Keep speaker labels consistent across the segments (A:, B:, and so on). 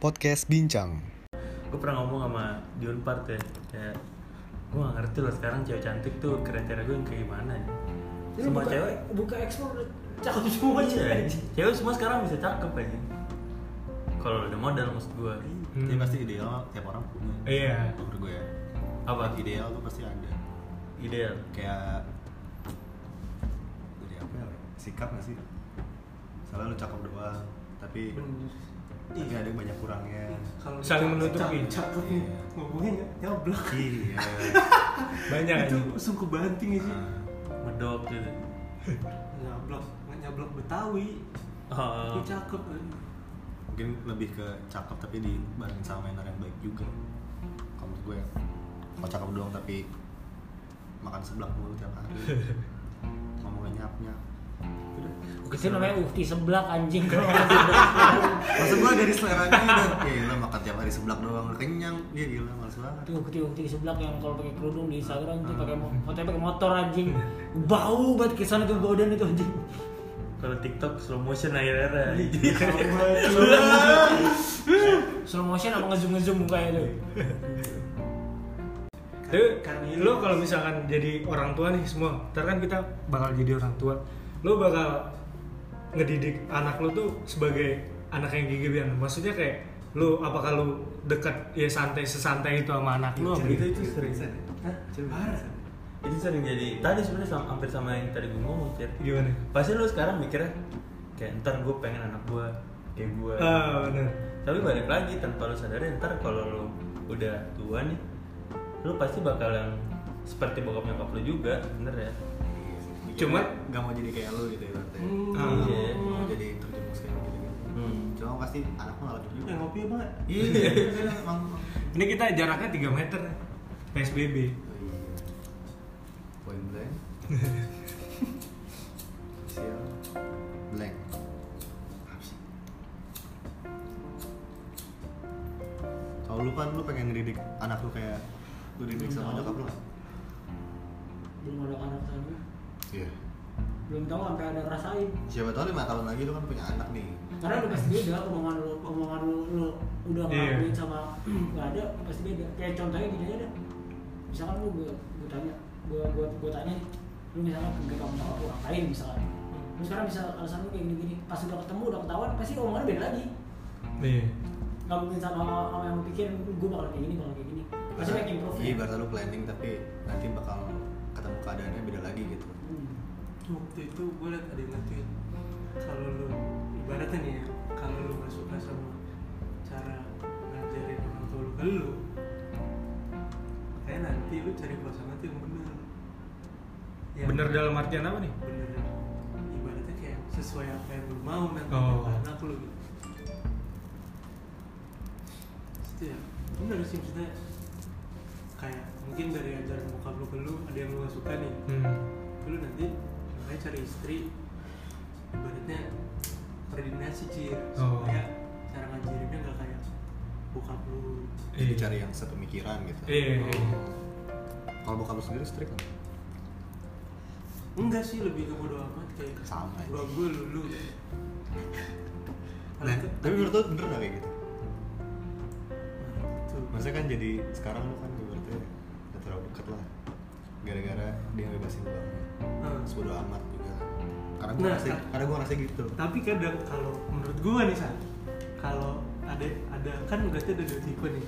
A: podcast bincang.
B: gue pernah ngomong sama di Unpart ya kayak gue gak ngerti lah sekarang cewek cantik tuh kriteria gue yang kayak gimana ya
C: Ini
D: Iya,
B: semua
C: buka,
B: cewek
C: buka ekspor udah cakep semua
B: iya
C: cewek.
B: cewek semua sekarang bisa cakep aja kalau udah modal maksud gue
D: Iya.
E: Jadi pasti ideal tiap orang punya.
F: Iya.
E: Menurut gue ya.
B: Apa?
E: Ideal tuh pasti ada.
B: ideal
E: Kayak dari apa ya? Sikap gak sih? Misalnya lu cakep doang, tapi tapi ada banyak kurangnya.
C: Kalau
F: Saling
C: cakep-
F: menutupi.
C: cakep- Cakep nih.
E: Iya.
C: Ngomongnya ny- nyablak.
E: Iya.
F: Banyak
C: Itu
F: anjing.
C: sungguh banting aja.
E: Nah,
B: medok
D: Iya,
B: gitu
C: Nyablak, nggak nyablak Betawi.
B: oh,
C: Ini cakep. eh.
E: Mungkin lebih ke cakep tapi dibarengin sama manner yang baik juga. Kalau menurut gue, ya. kalau cakep doang tapi makan seblak mulu tiap hari. Ngomongnya nyap-nyap. Udah.
D: Itu namanya ukti seblak anjing kalau
E: Maksud gua dari seleranya udah Ya gila makan tiap hari seblak doang udah kenyang Dia gila males banget Iya,
D: Itu ukti-ukti seblak yang kalau pakai kerudung di Instagram itu pakai mo- fotonya pakai motor anjing. Bau banget kesana ke badan itu anjing.
B: kalau TikTok slow motion akhir-akhir
D: Iya. Slow motion apa ngezoom-ngezoom mukanya itu.
F: Tapi lo kalau misalkan jadi orang tua nih semua, ntar kan kita bakal jadi orang tua. Lo bakal ngedidik anak lo tuh sebagai anak yang kayak gimana? Maksudnya kayak lo apakah lo dekat ya santai sesantai itu sama anak lo? apa
D: Iya.
B: itu
F: gitu?
B: itu sering
C: Hah? Parah.
B: itu sering jadi tadi sebenarnya sama- hampir sama yang tadi gue ngomong Cer.
F: Gimana?
B: pasti lu sekarang mikirnya kayak ntar gue pengen anak gue kayak gue
F: Ah, bener.
B: tapi balik lagi tanpa lu sadari ntar kalau lu udah tua nih lu pasti bakalan seperti bokap nyokap lu juga bener ya
F: Cuman-
E: gak mau jadi kayak lu gitu ya berarti
C: Hmm,
F: Ah,
B: iya.
E: Mau jadi terjerumus kayak gitu gitu
B: hmm.
E: Cuma pasti anak lu ngalamin juga
C: Eh, ngopi ya, Bang?
E: Iya emang
F: Ini kita jaraknya 3 meter PSBB.
E: Oh, iya. Point blank Sial Blank Apa sih? Kalau lu kan lu pengen ngedidik anak lu kayak lu didik sama nyokap lu kan?
D: Belum ada anak sana.
E: Iya
D: Belum tahu sampai ada rasain.
E: Siapa tahu lima tahun lagi lu kan punya anak nih.
D: Karena udah pasti beda omongan lo, omongan lo, lo udah
F: Iya.
D: ngelakuin sama nggak ada pasti beda. Iya, Kayak contohnya gini aja dah. Misalkan lu gue gue tanya, gue gue gue tanya, lu misalkan ke kamu tahu aku ngapain misalkan. Terus sekarang bisa alasan lu kayak gini-gini. Pas udah ketemu udah ketahuan pasti omongannya beda lagi.
F: Iya.
D: Gak mungkin sama sama yang pikir gue bakal kayak gini, bakal kayak gini. Pasti
E: Ibarat-
D: banyak improve.
E: Iya, ibarat lu planning tapi nanti bakal ketemu keadaannya beda lagi gitu.
D: Hmm.
C: waktu itu gue liat ada yang nge-tweet kalau lu ibaratnya nih ya kalau lu gak suka sama cara ngajarin orang tua lu ke lu kayak nanti lu cari pasangan tuh yang bener Yang
F: Bener dalam artian apa nih?
C: bener ibaratnya kayak sesuai apa yang lu mau nanti
F: Oh.
C: anak lu gitu itu ya bener sih maksudnya kayak mungkin dari ajaran bokap lu ke lu ada yang lu gak suka nih
F: Hmm.
C: lu nanti makanya cari istri ibaratnya koordinasi cir
F: Oh.
C: supaya cara ngajarinnya nggak kayak bokap lu
E: Jadi
F: Iya.
E: cari yang sepemikiran gitu.
F: Iya, iya, iya.
E: Kalau bokap lu sendiri strict kan?
C: enggak sih lebih ke bodo amat kayak
E: Sama aja.
C: gua gua lu lu
E: Nah, tapi menurut lu bener gak kayak gitu?
C: tuh
E: Maksudnya kan jadi sekarang lu kan ibaratnya gak terlalu deket lah. Gara-gara dia bebasin lu banget. Terus bodo amat juga. Karena gua
C: Hmm. Nah,
E: ngerasa,
C: kan-
E: karena gua ngerasa gitu.
C: tapi kadang kalau menurut gua nih san kalau ada ada kan berarti ada dua tipe nih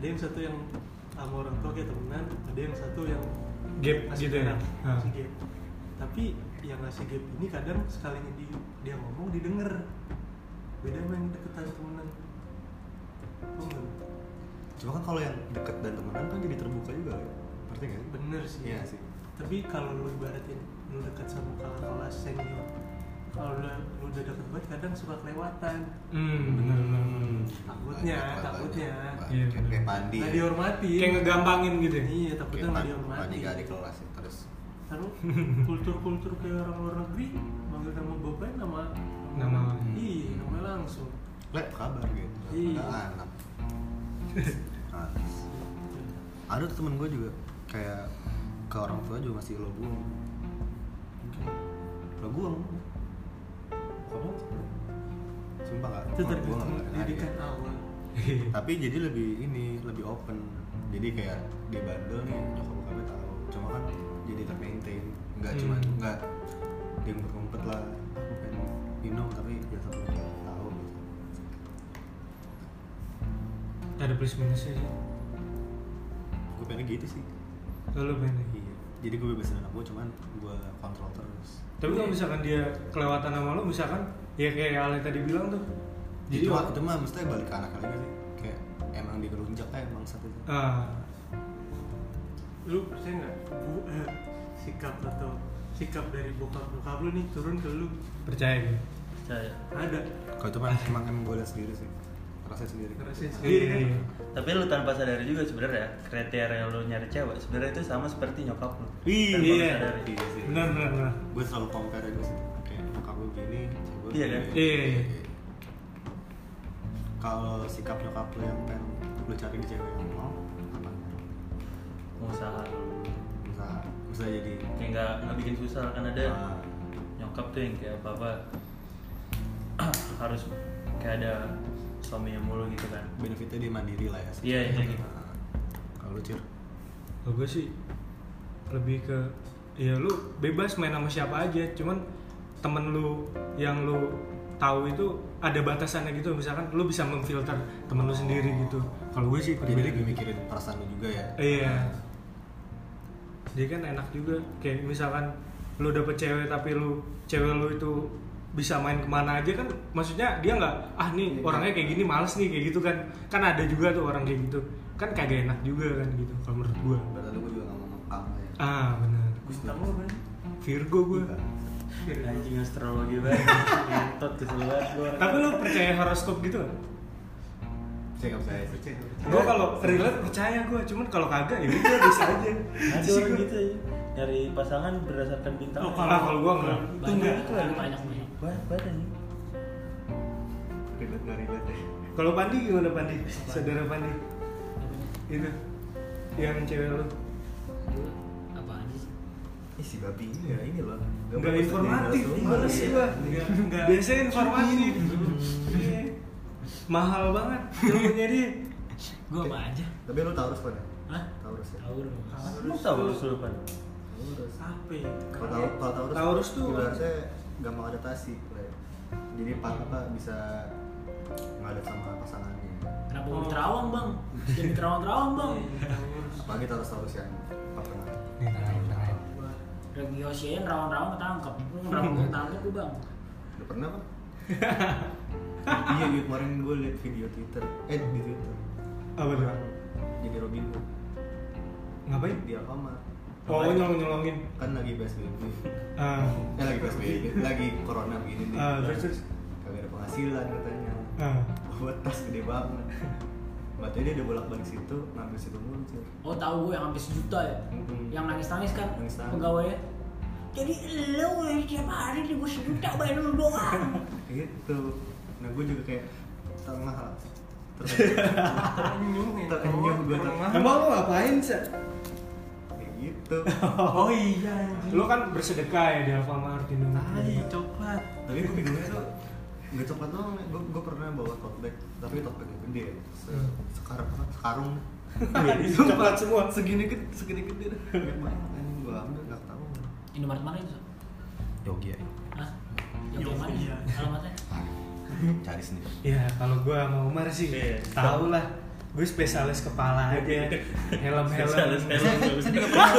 C: ada yang satu yang sama orang tua kayak temenan ada yang satu yang
F: Gap
C: ngasih
F: gitu ya?
C: jarak,
F: Ah.
C: ngasih gap tapi yang ngasih gap ini kadang sekalinya di, dia ngomong didengar beda sama yang deketan temenan Paham nggak?
E: Cuma kan kalau yang deket dan temenan kan jadi terbuka juga. ya. Ngerti gak sih?
C: bener sih
E: Iya sih.
C: tapi kalau lu ibaratin lu dekat sama kakak kelas senior kalau lu, lu udah deket banget kadang suka kelewatan
F: Hmm, bener bener. bener.
C: takutnya
E: Banyak,
C: takutnya
E: banyak.
F: Iya,
E: Kayak- Kayak Pandi.
C: nggak
E: ya.
C: dihormati
F: Kayak ngegampangin gitu. ya?
C: iya takutnya nggak dihormati
E: gak di kelas ya, terus
C: terus kultur-kultur kayak orang luar negeri manggil nama bapak nama
F: Nama.
C: iya nama langsung
E: le apa kabar gitu
C: Iya.
E: ada anak Nah, ada tuh temen gue juga kayak ke orang tua juga masih lo buang lo buang kamu sumpah gak
C: itu
E: Gua
C: tergantung
E: nggak- nggak ada. ya.
C: didikan awal
F: ya.
E: tapi jadi lebih ini lebih open jadi kayak di bandel nih nyokap bokapnya tahu cuma kan jadi termaintain nggak cuma
F: Hmm.
E: nggak dia ngumpet lah aku pengen minum tapi ya satu tahu gitu
F: ada plus minusnya sih
E: gue pengen gitu sih
F: lalu mainnya
E: iya jadi gue bebasin anak gue cuman gue kontrol terus
F: tapi kalau misalkan dia kelewatan sama lo misalkan ya kayak Ale tadi bilang tuh gitu.
E: jadi
F: jadi
E: itu, mah-
F: orang-
E: itu mah mesti balik ke anak lagi sih kayak emang digelunjak aja emang satu
F: ah
C: lu percaya nggak bu- eh, sikap atau sikap dari bokap bokap lu nih turun ke lu
F: percaya gitu
B: percaya
C: ada
E: kalau itu mah emang emang gue lihat sendiri sih rasanya sendiri Nah,
C: ngerasain sendiri kan
F: Iya.
B: tapi lu tanpa sadari juga sebenarnya kriteria lu nyari cewek sebenarnya itu sama seperti nyokap lu
F: Iya.
B: Tanpa lu sadari.
E: Iya sih.
F: benar benar benar
E: gue selalu compare gue sih kayak nyokap gue gini cewek gue
B: Iya,
E: gini.
B: kan?
F: Iya.
E: kalau sikap nyokap lo yang pengen lo cari di cewek yang mau apa
B: mau usaha lu
E: bisa bisa jadi
B: kayak nggak nggak bikin susah kan ada
E: Ah,
B: nyokap tuh yang kayak apa apa harus kayak ada suaminya mulu gitu kan
E: benefitnya dia mandiri lah ya sih.
B: Iya, iya, iya.
E: Ah, kalau lo cir
F: Kalau gue sih lebih ke ya lu bebas main sama siapa aja, cuman temen lu yang lu tahu itu ada batasannya gitu, misalkan lu bisa memfilter temen lu sendiri gitu. Kalau gue sih
E: jadi
F: pribadi
E: dia mikirin perasaan lo juga ya
F: Iya. Dia kan enak juga kayak misalkan lu dapet cewek tapi lu cewek lu itu bisa main kemana aja kan maksudnya dia nggak ah nih orangnya kayak gini males nih kayak gitu kan kan ada juga tuh orang kayak gitu kan kagak enak juga kan gitu kalau menurut gua
E: berarti gue juga nggak mau ngekang ya
F: ah benar
B: Gustaf lu kan
F: Virgo gue
E: Iya.
B: anjing astrologi banget ngentot kesel banget gua
F: tapi lu percaya horoskop gitu
E: saya nggak percaya sih
C: Percaya, percaya.
F: gue kalau relate percaya gue cuman kalau kagak ya udah bisa aja
B: ada
F: Gitu sih
B: orang
F: gua.
B: gitu ya nyari pasangan berdasarkan bintang
C: Oh,
F: Ah, kalau gue nggak
C: Itu
D: banyak
C: enggak.
D: itu ada banyak banyak
B: banyak banget anjing
E: relate nggak relate ya
F: kalau Pandi gimana Pandi saudara Pandi itu yang cewek lu
D: Gue apa aja sih
E: ini si babi ini ya ini loh
F: nggak informatif males sih gue
C: Nggak.
F: Iya. biasanya informatif Iya. mahal banget ilmunya dia
D: gue apa aja
E: tapi lo tahu respon ya
D: Hah?
E: tahu respon
D: tahu lu
B: lu tau lu sulupan
E: Taurus.
C: apa ya
E: Kalau tahu kalau Taurus,
F: Ah, Taurus tuh-
E: ibaratnya gampang adaptasi. Lai. Jadi pak apa bisa ngadap sama pasangannya.
D: kenapa
C: Oh.
D: gue terawang bang jadi terawang terawang bang
E: Apalagi Taurus Taurus yang apa namanya?
D: Nah, Regi Yoshi yang rawan-rawan ketangkep Lu rawan ketangkep gue bang
E: Udah pernah kan? iya, iya kemarin gue liat video Twitter, eh di Twitter.
F: Apa tuh?
E: Jadi Robin Hood
F: ngapain
E: di Alfamart.
F: oh nyolong nyolongin
E: Kan lagi PSBB.
F: ah
E: Eh lagi PSBB, lagi corona begini nih.
F: ah, terus terus
E: Kagak ada penghasilan katanya.
F: ah.
E: buat tas gede banget Matanya dia udah bolak-balik situ, ngambil situ mulu sih
D: Oh tahu gue yang hampir sejuta ya
E: Mm-mm.
D: Yang nangis-nangis kan
E: Nangis-nangis.
D: pegawainya Jadi lo tiap hari di gue sejuta bayar lu doang
E: Gitu Nah gue juga kayak tengah lah Ter-
C: terenyuh ya
E: Terenyuh gua.
C: Terengah.
F: emang lu ngapain sih
E: Kayak gitu
C: oh iya anjing.
F: lu kan bersedekah ya di Alfamart Iya. di
C: tai coklat
E: Tapi gue bingungnya tuh Gak coklat doang, gue, gue pernah bawa tote bag Tapi tote bagnya gede Se
D: Hmm.
E: Sekarang Sekarung
D: Iya,
F: coklat semua
E: Segini gede, segini gede Banyak banget anjing gue ambil gak tau
D: Indomaret mana itu? Sob?
E: Yogi ya
D: Hah? Yang kayak mana?
C: Iya.
D: Alamatnya?
E: Ah. Cari sendiri
F: Ya kalau gua sama Umar sih
B: Iya.
F: tau lah Gue spesialis kepala aja
B: Spesialis
F: Iya, Helm-helm
B: helm.
E: Saya juga pernah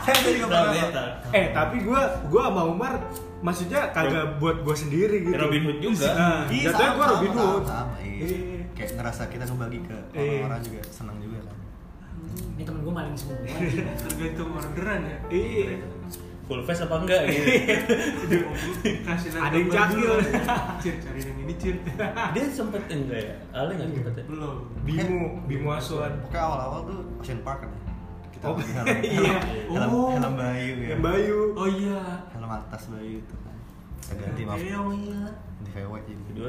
E: Saya juga
B: Ternyata.
E: pernah
F: Eh tapi gua gua sama Umar Maksudnya kagak buat gua sendiri gitu
B: Robin Hood juga.
F: nah,
E: Iya,
F: Jatuhnya
E: sama,
F: gua
E: sama,
F: Robin
E: sama,
F: Hood
E: sama, iya.
F: Iya.
E: Kayak ngerasa kita ngebagi ke
F: Iya.
E: orang-orang juga senang juga kan.
D: Ini temen gue maling semua
C: tergantung orderan ya
F: Iya
B: full face apa enggak gitu
C: kasih
F: Ada yang cakil.
C: cir cari yang ini cir
B: dia sempet enggak ya Ale nggak sempet ya
C: belum
F: Bimo, Bimo Aswan
E: Pokoknya awal-awal tuh Ocean Park kan ya. Kita
F: Oh,
E: pakai
F: iya.
E: helm,
C: Oh.
E: helm Bayu ya.
F: Yang Bayu
C: oh iya
E: Helm atas Bayu itu kan. Kita ganti maaf.
C: Keong, iya
E: Di VW jadi.
B: kedua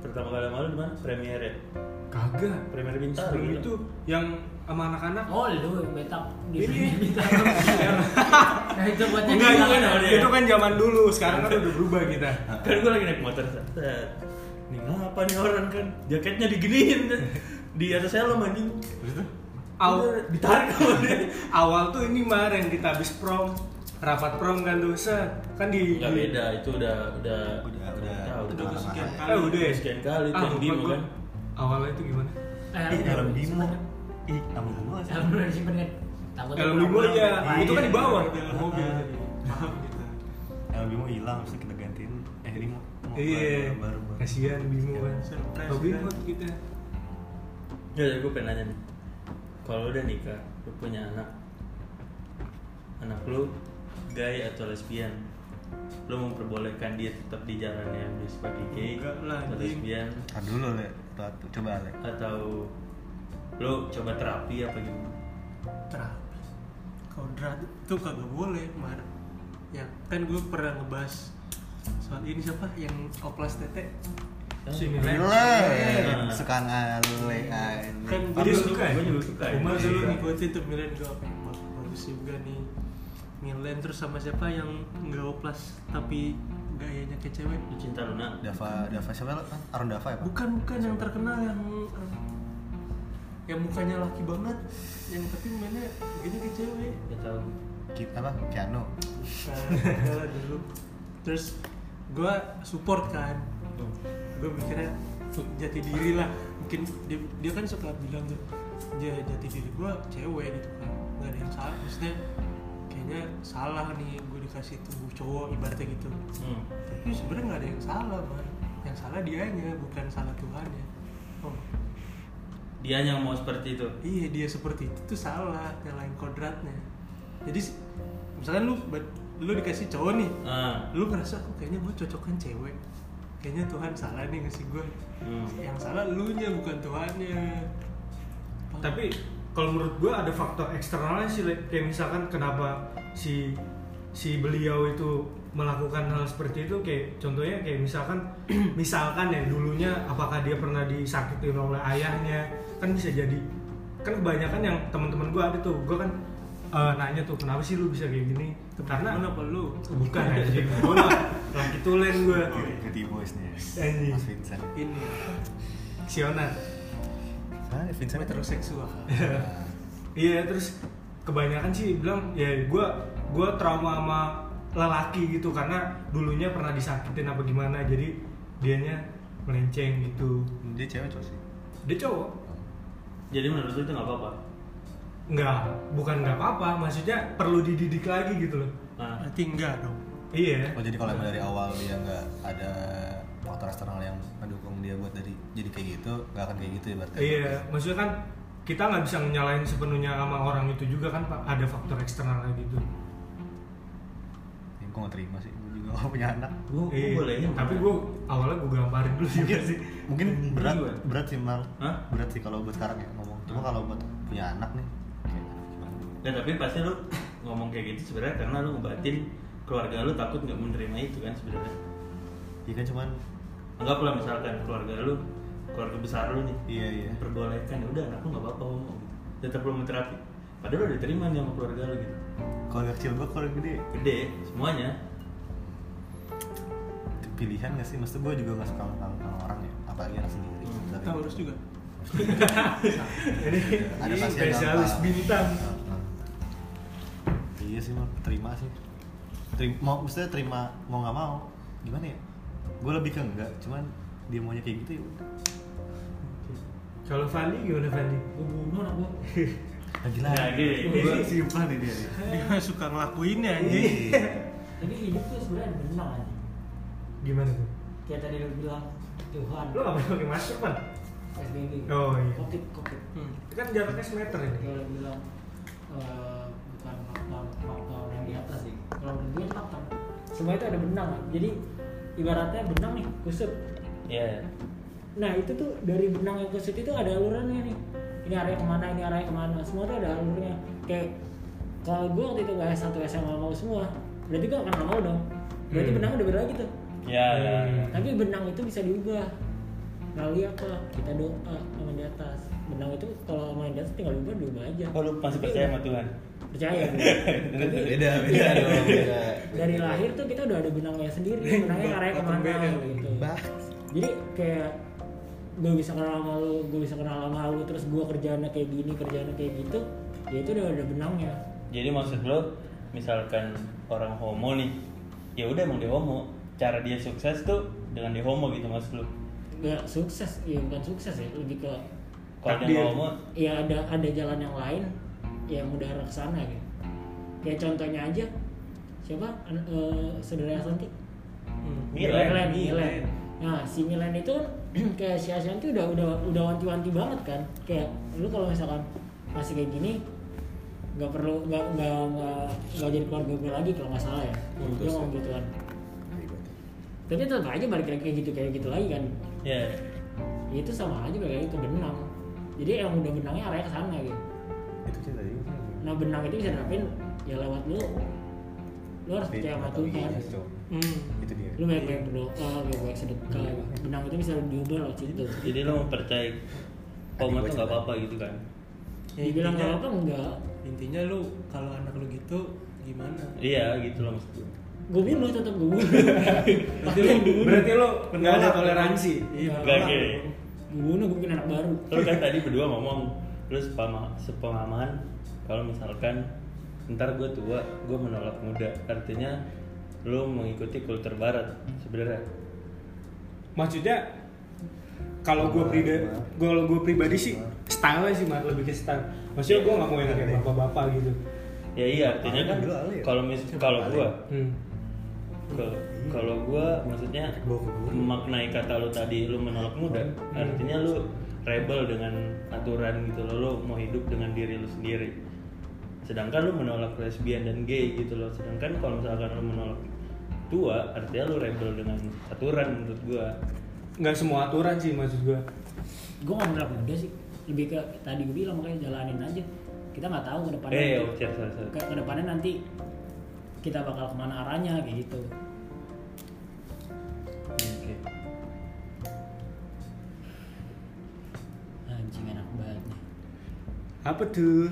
B: pertama kali malu di mana premier ya
F: Kagak
B: premier bintang
F: Sebelum itu yang sama anak-anak
D: Oh lu yang betap di
F: Ini.
D: sini betap. Nah itu buat
F: Enggak,
D: nyanyi.
F: itu kan,
B: Iya.
F: itu kan zaman dulu, sekarang kan udah berubah kita
B: kan gue lagi naik motor set, set. nih ngapa nih orang kan jaketnya diginiin kan di atas helm anjing
F: Au.
B: Bener, ditarik sama dia
F: awal tuh ini kemarin kita habis prom rapat prom kan tuh set kan di
B: nggak
F: di-
B: beda itu udah udah
E: Udah, udah.
B: udah udah
C: udah kesekian
E: Eh,
C: kali
F: eh udah ya
B: Sekian kali tuh
F: Ah,
B: yang
F: lupa
B: Bimo
F: gua.
B: kan.
F: awalnya itu gimana
D: Eh,
E: Ih, helm Bimo.
F: kan?
D: sebenarnya.
E: Ih, helm Bimo sih.
D: Helm udah disimpan kan? Takutnya Nah,
F: Helm Bimo
D: pernah-
F: iya.
D: pernah-
F: Itu kan di bawah.
C: di dalam mobil tadi paham kita
E: Helm Bimo hilang, terus kita gantiin. Eh, ini mau mau
F: iya
E: baru baru.
F: kasihan Bimo kan
C: Surprise,
F: Oh, Bimo
C: kan?
F: kita
B: Ya, gue pengen nanya nih. Kalau udah nikah, lu punya anak. Anak lu gay atau lesbian? Lu memperbolehkan dia tetap di jalan yang dia sebagai gay
C: Enggak lah,
B: atau
C: anjing.
B: lesbian
E: Tar dulu, Le. Satu, coba, Le.
B: atau lu coba terapi apa gimana?
C: terapi kau drat itu kagak boleh mar ya kan gue pernah ngebahas soal ini siapa yang oplas tete
F: sini
B: Hah?
E: Le.
B: Nah.
E: Suka ngale
C: kan
E: aja.
C: gue
F: Tapi
C: dulu
F: suka ya?
B: Gue juga suka. ya.
C: Umar Nah, dulu
B: Suka.
C: ngikutin tuh Milan gue wah bagus juga nih Milan terus sama siapa yang nggak oplas tapi gayanya kayak cewek
B: Lu cinta Luna.
E: Dava, Dava siapa? Le? Aron Dava ya, Pak?
C: bukan bukan yang terkenal yang eh, yang mukanya laki banget yang tapi mainnya gini kayak cewek
B: Gak tau.
E: Kita apa? Keanu.
C: Bukan, enggak lah dulu terus gue support kan gue mikirnya jati diri lah mungkin dia, dia kan suka bilang tuh "Ja- jati diri gue cewek gitu kan nggak ada yang salah maksudnya kayaknya salah nih gue dikasih tubuh cowok ibaratnya gitu
B: Hmm.
C: tapi sebenarnya nggak ada yang salah man yang salah dianya bukan salah Tuhannya oh
B: Dia yang mau seperti itu.
C: iya dia seperti itu tuh salah nyalain kodratnya jadi s- misalnya lu lu dikasih cowok nih
B: Ah.
C: lu ngerasa kok kayaknya gue cocokan cewek kayaknya Tuhan salah nih ngasih gue
B: Hmm.
C: yang salah lu nya bukan Tuhannya Paham?
F: tapi kalau menurut gue ada faktor eksternalnya sih Le. kayak misalkan kenapa si si beliau itu melakukan hal seperti itu kayak contohnya kayak misalkan misalkan ya dulunya apakah dia pernah disakitin oleh ayahnya kan bisa jadi kan kebanyakan yang teman-teman gue ada tuh gue kan eh, nanya tuh kenapa sih lu bisa kayak gini karena
C: kenapa lu
F: bukan anjing gue lagi tulen gue
E: Beauty Boys nih.
F: Anjing.
E: Mas Vincent.
C: ini
F: sionan
E: Ah, Vincent itu
C: heteroseksual
F: Iya terus kebanyakan sih bilang ya gue gue trauma sama lelaki gitu karena dulunya pernah disakitin apa gimana jadi dianya melenceng gitu
E: dia cewek cowok sih.
F: dia cowok
B: Jadi menurut lu itu nggak apa-apa.
F: nggak bukan nggak apa-apa maksudnya perlu dididik lagi gitu loh
B: Ah.
C: berarti enggak dong
F: iya
E: Oh jadi kalau emang dari awal dia nggak ada faktor eksternal yang mendukung dia buat dari jadi kayak gitu, nggak akan kayak gitu ya berarti.
F: iya maksudnya kan kita nggak bisa nyalain sepenuhnya sama orang itu juga kan Pak. ada faktor eksternal gitu
E: Ya, gue nggak terima sih, gue juga nggak punya anak.
C: Eh,
B: Gue
F: Iya,
B: Oh, boleh.
F: tapi gue awalnya gue gamparin dulu juga sih
E: Mungkin berat,
B: Gua.
E: berat sih mal,
B: Hah?
E: berat sih kalau buat sekarang ya ngomong. Cuma kalau buat punya anak nih, kayak gimana?
B: Ya tapi pasti lu ngomong kayak gitu sebenarnya karena lu ngebatin keluarga lu takut nggak menerima itu kan sebenarnya.
E: Iya kan cuman,
B: Anggaplah misalkan keluarga lu, keluarga besar lu nih,
E: iya iya.
B: perbolehkan ya udah anak lu nggak apa-apa homo gitu. Tetap lu mau terapi. Padahal lu udah terima nih sama keluarga lu gitu.
E: Kalau kecil gue kalau gede,
B: Gede semuanya.
E: pilihan nggak sih? Maksud gue juga nggak suka sama sama orang ya, apalagi anak sendiri.
B: Hmm.
E: Tapi
C: tahu harus juga
F: ini ini
E: pasien
F: Iya, spesialis
E: gampang.
F: bintang
E: Gampang. iya sih mau terima sih terima mau maksudnya terima mau nggak mau gimana ya gue lebih ke enggak cuman dia maunya kayak gitu ya udah.
F: kalau Fandi gimana Fandi
D: Gua bunuh anak gua.
E: lagi Iya. lagi
B: Nah, gini,
E: gue
B: gini.
E: simpan nih dia nih.
C: dia suka ngelakuinnya
E: Iya.
C: anjing
D: Jadi hidup tuh sebenarnya ada benang aja.
F: gimana tuh
D: Kayak tadi lu bilang Tuhan.
F: lo nggak boleh pakai masker pan
D: SBB.
F: Oh, iya.
D: Covid, Covid.
C: Hmm.
F: kan jaraknya semeter ini
D: Kayak lu bilang eh, bukan faktor faktor yang di atas sih. Kalau menurut gue itu faktor. Semua itu ada benang. kan? Jadi ibaratnya benang nih kusut.
B: Iya.
D: Nah itu tuh dari benang yang kusut itu ada alurannya nih. Ini arahnya kemana, ini arahnya kemana. Semua tuh ada alurnya. Kayak kalau gue waktu itu gak S1 SMA mau semua, berarti gue akan gak mau dong. Berarti
F: Hmm.
D: benangnya udah beda lagi tuh.
B: Ya, ya.
F: Hmm.
D: Tapi benang itu bisa diubah. Melalui apa? Kita doa sama di atas. Benang itu kalau sama yang di atas tinggal diubah, diubah aja.
B: Oh, lu masih percaya sama Tuhan?
D: Percaya. Iya, gue. Tapi
E: beda beda dong beda
D: dari lahir tuh kita udah ada benangnya sendiri. Benangnya arahnya
C: Bakar
D: kemana
C: beda.
D: gitu.
E: bah
D: jadi kayak gue bisa kenal sama lu gue bisa kenal sama lu terus gue kerjaannya kayak gini kerjaannya kayak gitu ya itu udah ada benangnya
B: Jadi maksud lo, misalkan orang homo nih, ya udah emang dia homo. Cara dia sukses tuh dengan dia homo gitu mas lo.
D: nggak sukses ya bukan sukses ya lebih ke
B: Kalau dia
F: Takdir.
B: nggak homo,
D: ya ada ada jalan yang lain yang udah arah kesana gitu kayak contohnya aja siapa An- eh, saudara Ashanti
B: Milen.
D: Milen, Milen. Nah, si Milen itu kan kayak si Ashanti udah udah udah wanti-wanti banget kan. Kayak lu kalau misalkan masih kayak gini nggak perlu nggak nggak nggak nggak jadi keluarga gue lagi kalau nggak salah ya. Dia ngomong gitu kan. Tapi tetap aja balik lagi kayak gitu kayak gitu lagi kan.
B: ya
D: Ya, itu sama aja balik lagi ke benang. Jadi yang udah benangnya arahnya ke sana gitu.
E: itu cinta juga
D: Nah benang itu bisa diterapin ya lewat lu. Lu harus percaya sama
E: iya
D: Tuhan.
C: Hmm.
E: itu dia
D: Lu banyak-banyak berdoa, banyak-banyak sedekah. Benang itu bisa diubah lewat situ.
B: jadi lo mempercayai homo tuh nggak apa-apa gitu kan?
C: Ya,
D: Dibilang
C: intinya-
D: kalau apa enggak,
C: Intinya lu kalau anak lu gitu gimana?
B: Iya gitu loh maksud gue.
D: gue bunuh tetap gue bunuh. Pasti yang dibunuh.
F: Berarti lo nggak ada
C: Menolak.
F: toleransi.
C: Iya,
B: Gak
C: menolak.
B: gini.
D: Gue bunuh gue bikin anak baru.
B: Lo kan tadi berdua ngomong, lo sepama, sepemahaman kalau misalkan ntar gue tua, gue menolak muda. Artinya lo mengikuti kultur barat sebenarnya.
F: Maksudnya kalau gue pribadi, kalau gue pribadi sih style sih Mar, lebih ke style. Maksudnya gue nggak mau yang kayak bapak-bapak gitu.
B: Ya iya artinya kan
E: Paling dua kali ya?
B: kalau mis kalau gue
F: Hmm.
B: Ke- kalau gua maksudnya
E: Gua keburu.
B: memaknai kata lu tadi lu menolak muda artinya lu rebel dengan aturan gitu loh lu mau hidup dengan diri lu sendiri sedangkan lu menolak lesbian dan gay gitu loh sedangkan kalau misalkan lu menolak tua artinya lu rebel dengan aturan menurut gua
F: Nggak semua aturan sih maksud gue.
D: Gue gak menolak muda sih. Lebih ke tadi gue bilang makanya jalanin aja. Kita nggak tahu ke depannya.
B: eh oh,
D: nanti-
B: sorry, sorry, sorry.
D: ke, ke depannya nanti kita bakal kemana arahnya kayak gitu.
B: Oke.
D: Anjing enak banget. nih.
F: Apa tuh?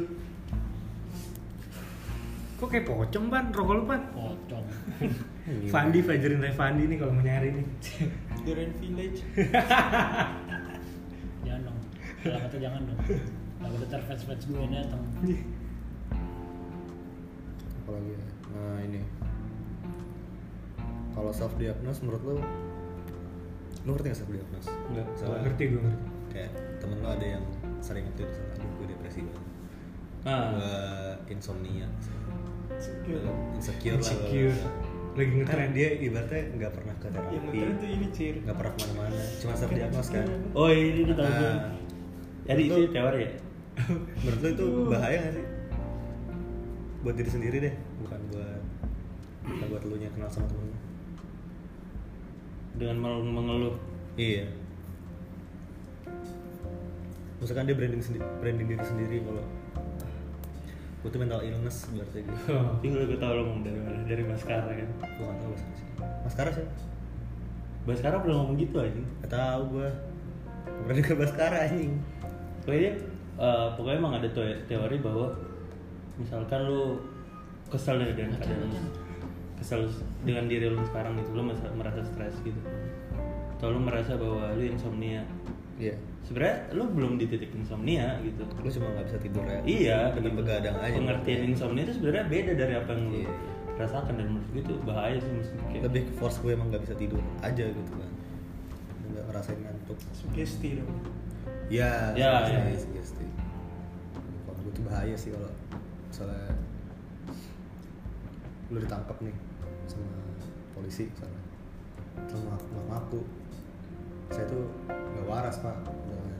F: Kok kayak pocong ban, rokok lu ban?
D: Pocong.
F: Fandi, Fajrin Fandi nih kalau mau nyari nih.
C: The Rain Village.
D: jangan dong. Kalau kata jangan dong. Kalau kata fans fans gue yang datang.
E: apalagi ya nah ini kalau self diagnose menurut lo lo ngerti gak self diagnose
F: Enggak, salah. Ngerti gue ngerti.
E: kayak temen lo ada yang sering itu misalnya "Aduh, gue depresi banget
B: ah
E: gue insomnia
C: Secure.
E: Gue insecure,
F: Insecure.
E: lah
F: Lagi
E: karena
F: ngetren dia.
E: dia ibaratnya nggak pernah ke
C: Yang
E: terapi
C: ngetren tuh ini cir.
E: nggak pernah kemana-mana cuma self diagnose kan
B: oh ini tuh tahu gua.
E: nah,
B: jadi itu
E: Betul.
B: teori ya
E: menurut lo itu bahaya gak sih buat diri sendiri deh bukan buat bukan buat lo nya kenal sama temen lo
B: dengan mel- mengeluh
E: Iya. Misalkan dia branding sendiri, branding diri sendiri kalau gue tuh mental illness berarti gue.
F: Oh.
B: tinggal gue tau lo ngomong dari mana dari maskara kan
E: Gue nggak tahu bahasa sih. Maskara sih?
B: maskara belum ngomong gitu aja
E: Gak tahu gue. Berani ke maskara anjing.
B: pokoknya eh, pokoknya emang ada teo- teori bahwa misalkan lu kesal dari dengan keadaan lu kesal lu- dengan diri lu sekarang gitu lu masa- merasa stres gitu atau lu merasa bahwa lu insomnia
E: Iya.
B: sebenarnya lu belum di titik insomnia gitu
E: Lu cuma nggak bisa tidur ya.
B: iya
E: Kena
B: gitu.
E: begadang aja. ya.
B: pengertian insomnia itu sebenarnya beda dari apa yang lu
E: Iya.
B: rasakan dan menurut gue itu bahaya sih maksudnya kayak-
E: Lebih ke force gue emang nggak bisa tidur aja gitu kan. Nggak ngerasain ngantuk.
C: Sugesti dong.
E: Ya.
B: Ya,
E: pasti,
B: ya.
E: pasti. Kalau gue tuh bahaya sih kalau misalnya lu ditangkap nih sama polisi misalnya terus ngaku, nggak ngaku saya tuh nggak waras pak Misalnya,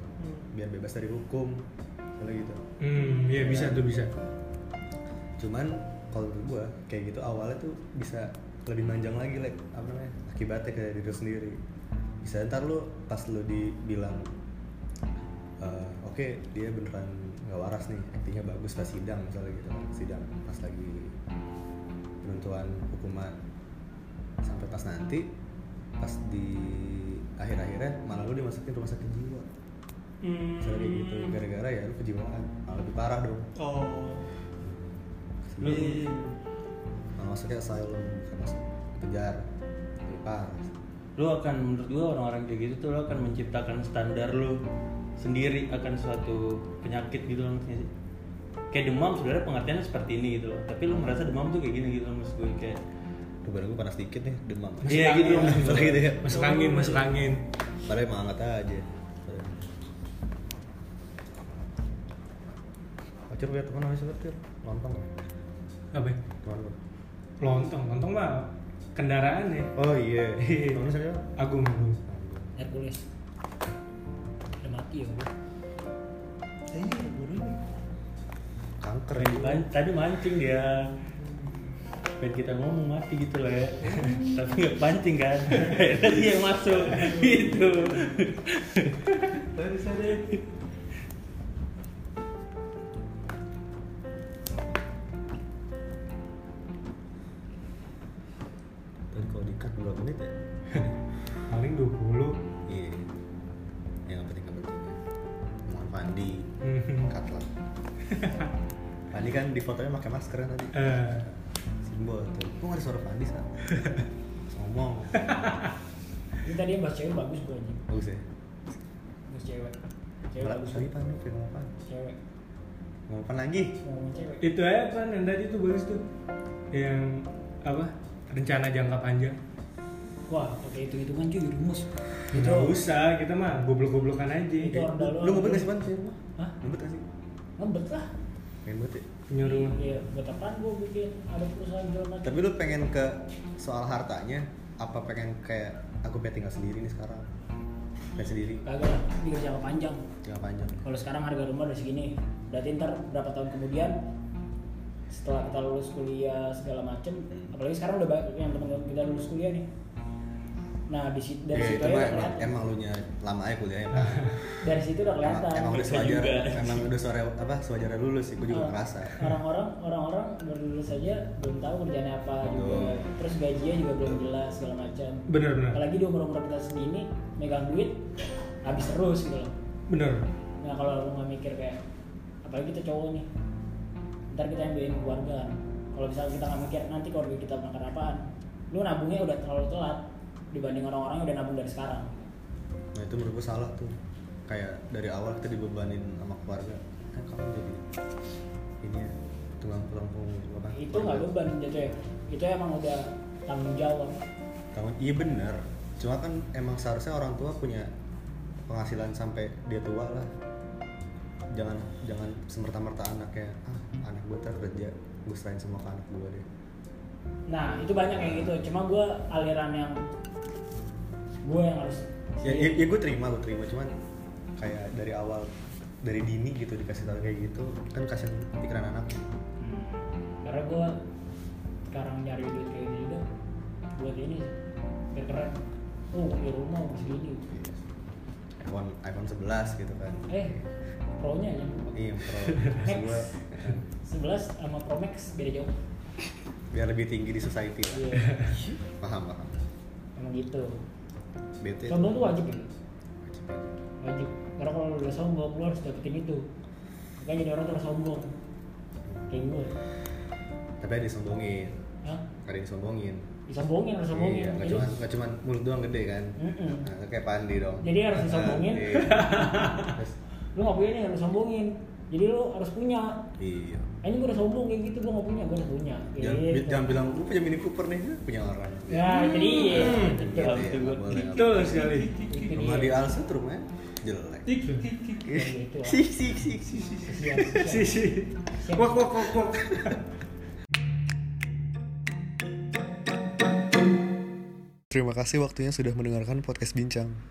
E: biar bebas dari hukum misalnya gitu
F: Hmm, iya bisa tuh bisa.
E: cuman kalau menurut gua kayak gitu awalnya tuh bisa lebih manjang lagi like apa namanya akibatnya ke diri lu sendiri bisa ntar lu pas lu dibilang "Eh, oke dia beneran nggak waras nih aktingnya bagus pas sidang misalnya gitu kan sidang pas lagi penentuan hukuman sampai pas nanti pas di akhir-akhirnya malah lu dimasukin rumah sakit jiwa
F: Hmm.
E: misalnya kayak gitu gara-gara ya lu kejiwaan malah lebih parah dong
C: Oh.
B: Lu-
C: Iya.
E: Nah, masuknya asylum bukan masuk penjara lebih parah
B: lu akan menurut gua orang-orang kayak gitu tuh lu akan menciptakan standar lu sendiri akan suatu penyakit gitu loh ngerti nggak sih? kayak demam sebenarnya pengertiannya seperti ini gitu loh tapi lu merasa demam tuh kayak gini gitu loh maksud gue kayak
E: Duh, badan gue panas dikit nih, demam.
B: iya gitu loh maksud
E: Gitu ya.
B: gue
F: masuk angin masuk angin
E: Padahal emang hangat aja. Acur punya teman namanya siapa Cur? Lontong ya?
F: apa ya?
E: Teman lu.
F: lontong lontong mah kendaraan ya
E: Oh iya. Temen lu siapa?
F: agung agung
D: Hercules udah mati ya gue
C: 네,
E: Eh, baru ini. Kanker ya.
B: Man- tadi mancing dia pengen kita ngomong mati gitu lah ya tapi nggak pancing kan tadi yang masuk gitu
C: Baru sadar.
E: Tadi kalau di cut berapa menit ya?
F: paling 20
E: Iya. Yang nggak penting nggak penting. Mohon Fandi.
D: Hmm.
F: Mhm.
E: Cut lah. Fandi kan di fotonya pakai masker kan tadi.
F: Eh,
E: Simbol tuh. Kok nggak ada suara Fandi sih? Ngomong.
D: ini tadi yang bahas cewek bagus gue anjing
E: Bagus ya.
D: bahas cewek cewek
E: Malah
D: bagus
E: lagi Fandi pengen ngomong apa?
D: cewek
E: Ngomong apa lagi?
D: ngomongin cewek
F: itu aja kan yang tadi tuh bagus tuh yang apa rencana jangka panjang
D: wah pakai hitung hitungan cuy rumus
F: itu usah kita mah goblok-goblokan
D: itu
F: aja
D: orang dalam
E: Lu ngobet nggak sih Fandi di rumah?
D: Hah?
E: Ngobet nggak sih?
D: ngebet lah
E: Pengen banget ya?
F: nyuruh
D: iya buat apaan gue bikin ada perusahaan jual macam
E: Tapi lu pengen ke soal hartanya apa pengen kayak aku pengen tinggal sendiri nih sekarang? Pengen sendiri,
D: kagak lah pikir jangka panjang
E: tinggal panjang.
D: kalau sekarang harga rumah udah segini berarti ntar berapa tahun kemudian setelah kita lulus kuliah segala macem apalagi sekarang udah banyak yang teman-teman kita lulus kuliah nih nah di situ dari
E: Ya, itu
D: situ
E: mah
D: aja udah
E: emang,
D: kelihatan
E: emang lu nya lama aja kuliahnya Pak.
D: dari situ udah
E: emang,
D: kelihatan
E: emang udah
B: Saya
E: sewajar,
B: juga.
E: emang udah suara apa sewajarnya lulus sih, gue juga ngerasa.
D: orang-orang orang-orang baru lulus aja belum tahu kerjanya apa juga
E: Betul.
D: terus gajinya juga belum jelas segala macam
F: bener-bener
D: apalagi di umur umur kita segini megang duit habis terus gitu loh
F: bener
D: Nah kalau lu nggak mikir kayak apalagi kita cowok nih, ntar kita yang biayain keluarga kan. Kalau misalnya kita nggak mikir nanti keluarga kita makan apaan, lu nabungnya udah terlalu telat dibanding orang-orang yang udah nabung dari sekarang.
E: Nah itu menurut gue salah tuh. Kayak dari awal kita dibebanin sama keluarga. Kan kamu jadi ini ya, tukang tukang punggung apa?
D: Itu nggak beban jatuhnya. Itu emang udah tanggung jawab.
E: Tahun iya bener. Cuma kan emang seharusnya orang tua punya penghasilan sampai dia tua lah. Jangan jangan semerta-merta anaknya ah anak gue ntar kerja gue serahin semua ke anak gue deh.
D: Nah itu banyak kayak gitu. Cuma gue aliran yang gue yang harus.
E: Ya,
D: Iya.
E: ya, ya gue terima gue terima cuman kayak dari awal dari dini gitu dikasih tahu kayak gitu kan kasihan pikiran anak. Iya.
D: Karena gue sekarang nyari duit kayak gini juga buat ini biar keren. Oh, di rumah segini.
E: iPhone iPhone 11 gitu kan.
D: Eh, pro-nya aja.
E: Iya, pro. Maksud gua,
D: 11 sama Pro Max beda jauh.
E: biar lebih tinggi di society lah.
D: Iya.
E: Paham, paham.
D: Emang gitu.
E: BT. itu
D: Sombong tuh wajib ya?
E: wajib aja.
D: Wajib. Karena kalau lu udah sombong, lu harus dapetin itu. Makanya jadi orang tuh harus sombong. Kayak gue.
E: Tapi ada yang sombongin,
D: Hah?
E: ada yang sombongin.
D: Disombongin, harus sombongin.
E: Iya, nggak
D: jadi,
E: cuman nggak cuman mulut doang gede kan.
D: Mm-mm.
E: Nah, kayak pandi dong.
D: Jadi harus disombongin.
E: Ah, iya. Terus,
D: lu gak punya nih harus sombongin. Jadi lu harus punya.
E: iya.
D: Ini gue udah sombong kayak gitu, gue gak punya, gue udah punya.
E: Jangan,
D: Gitu.
E: bi- jangan bilang gue punya Mini Cooper nih, Lu punya orang.
D: Ya, jadi iya.
E: Gitu
D: Betul.
E: ya, nggak boleh.
F: betul sekali
D: Itu
E: Rumah di
D: dia.
E: Alsut rumahnya jelek.
C: Tik tik tik.
D: Gitu lah.
E: Sik sik sik sik. sik.
D: Kesian,
F: si
D: kesian.
F: si
D: Siap.
F: wak wak wak wak
E: Terima kasih waktunya sudah mendengarkan podcast Bincang.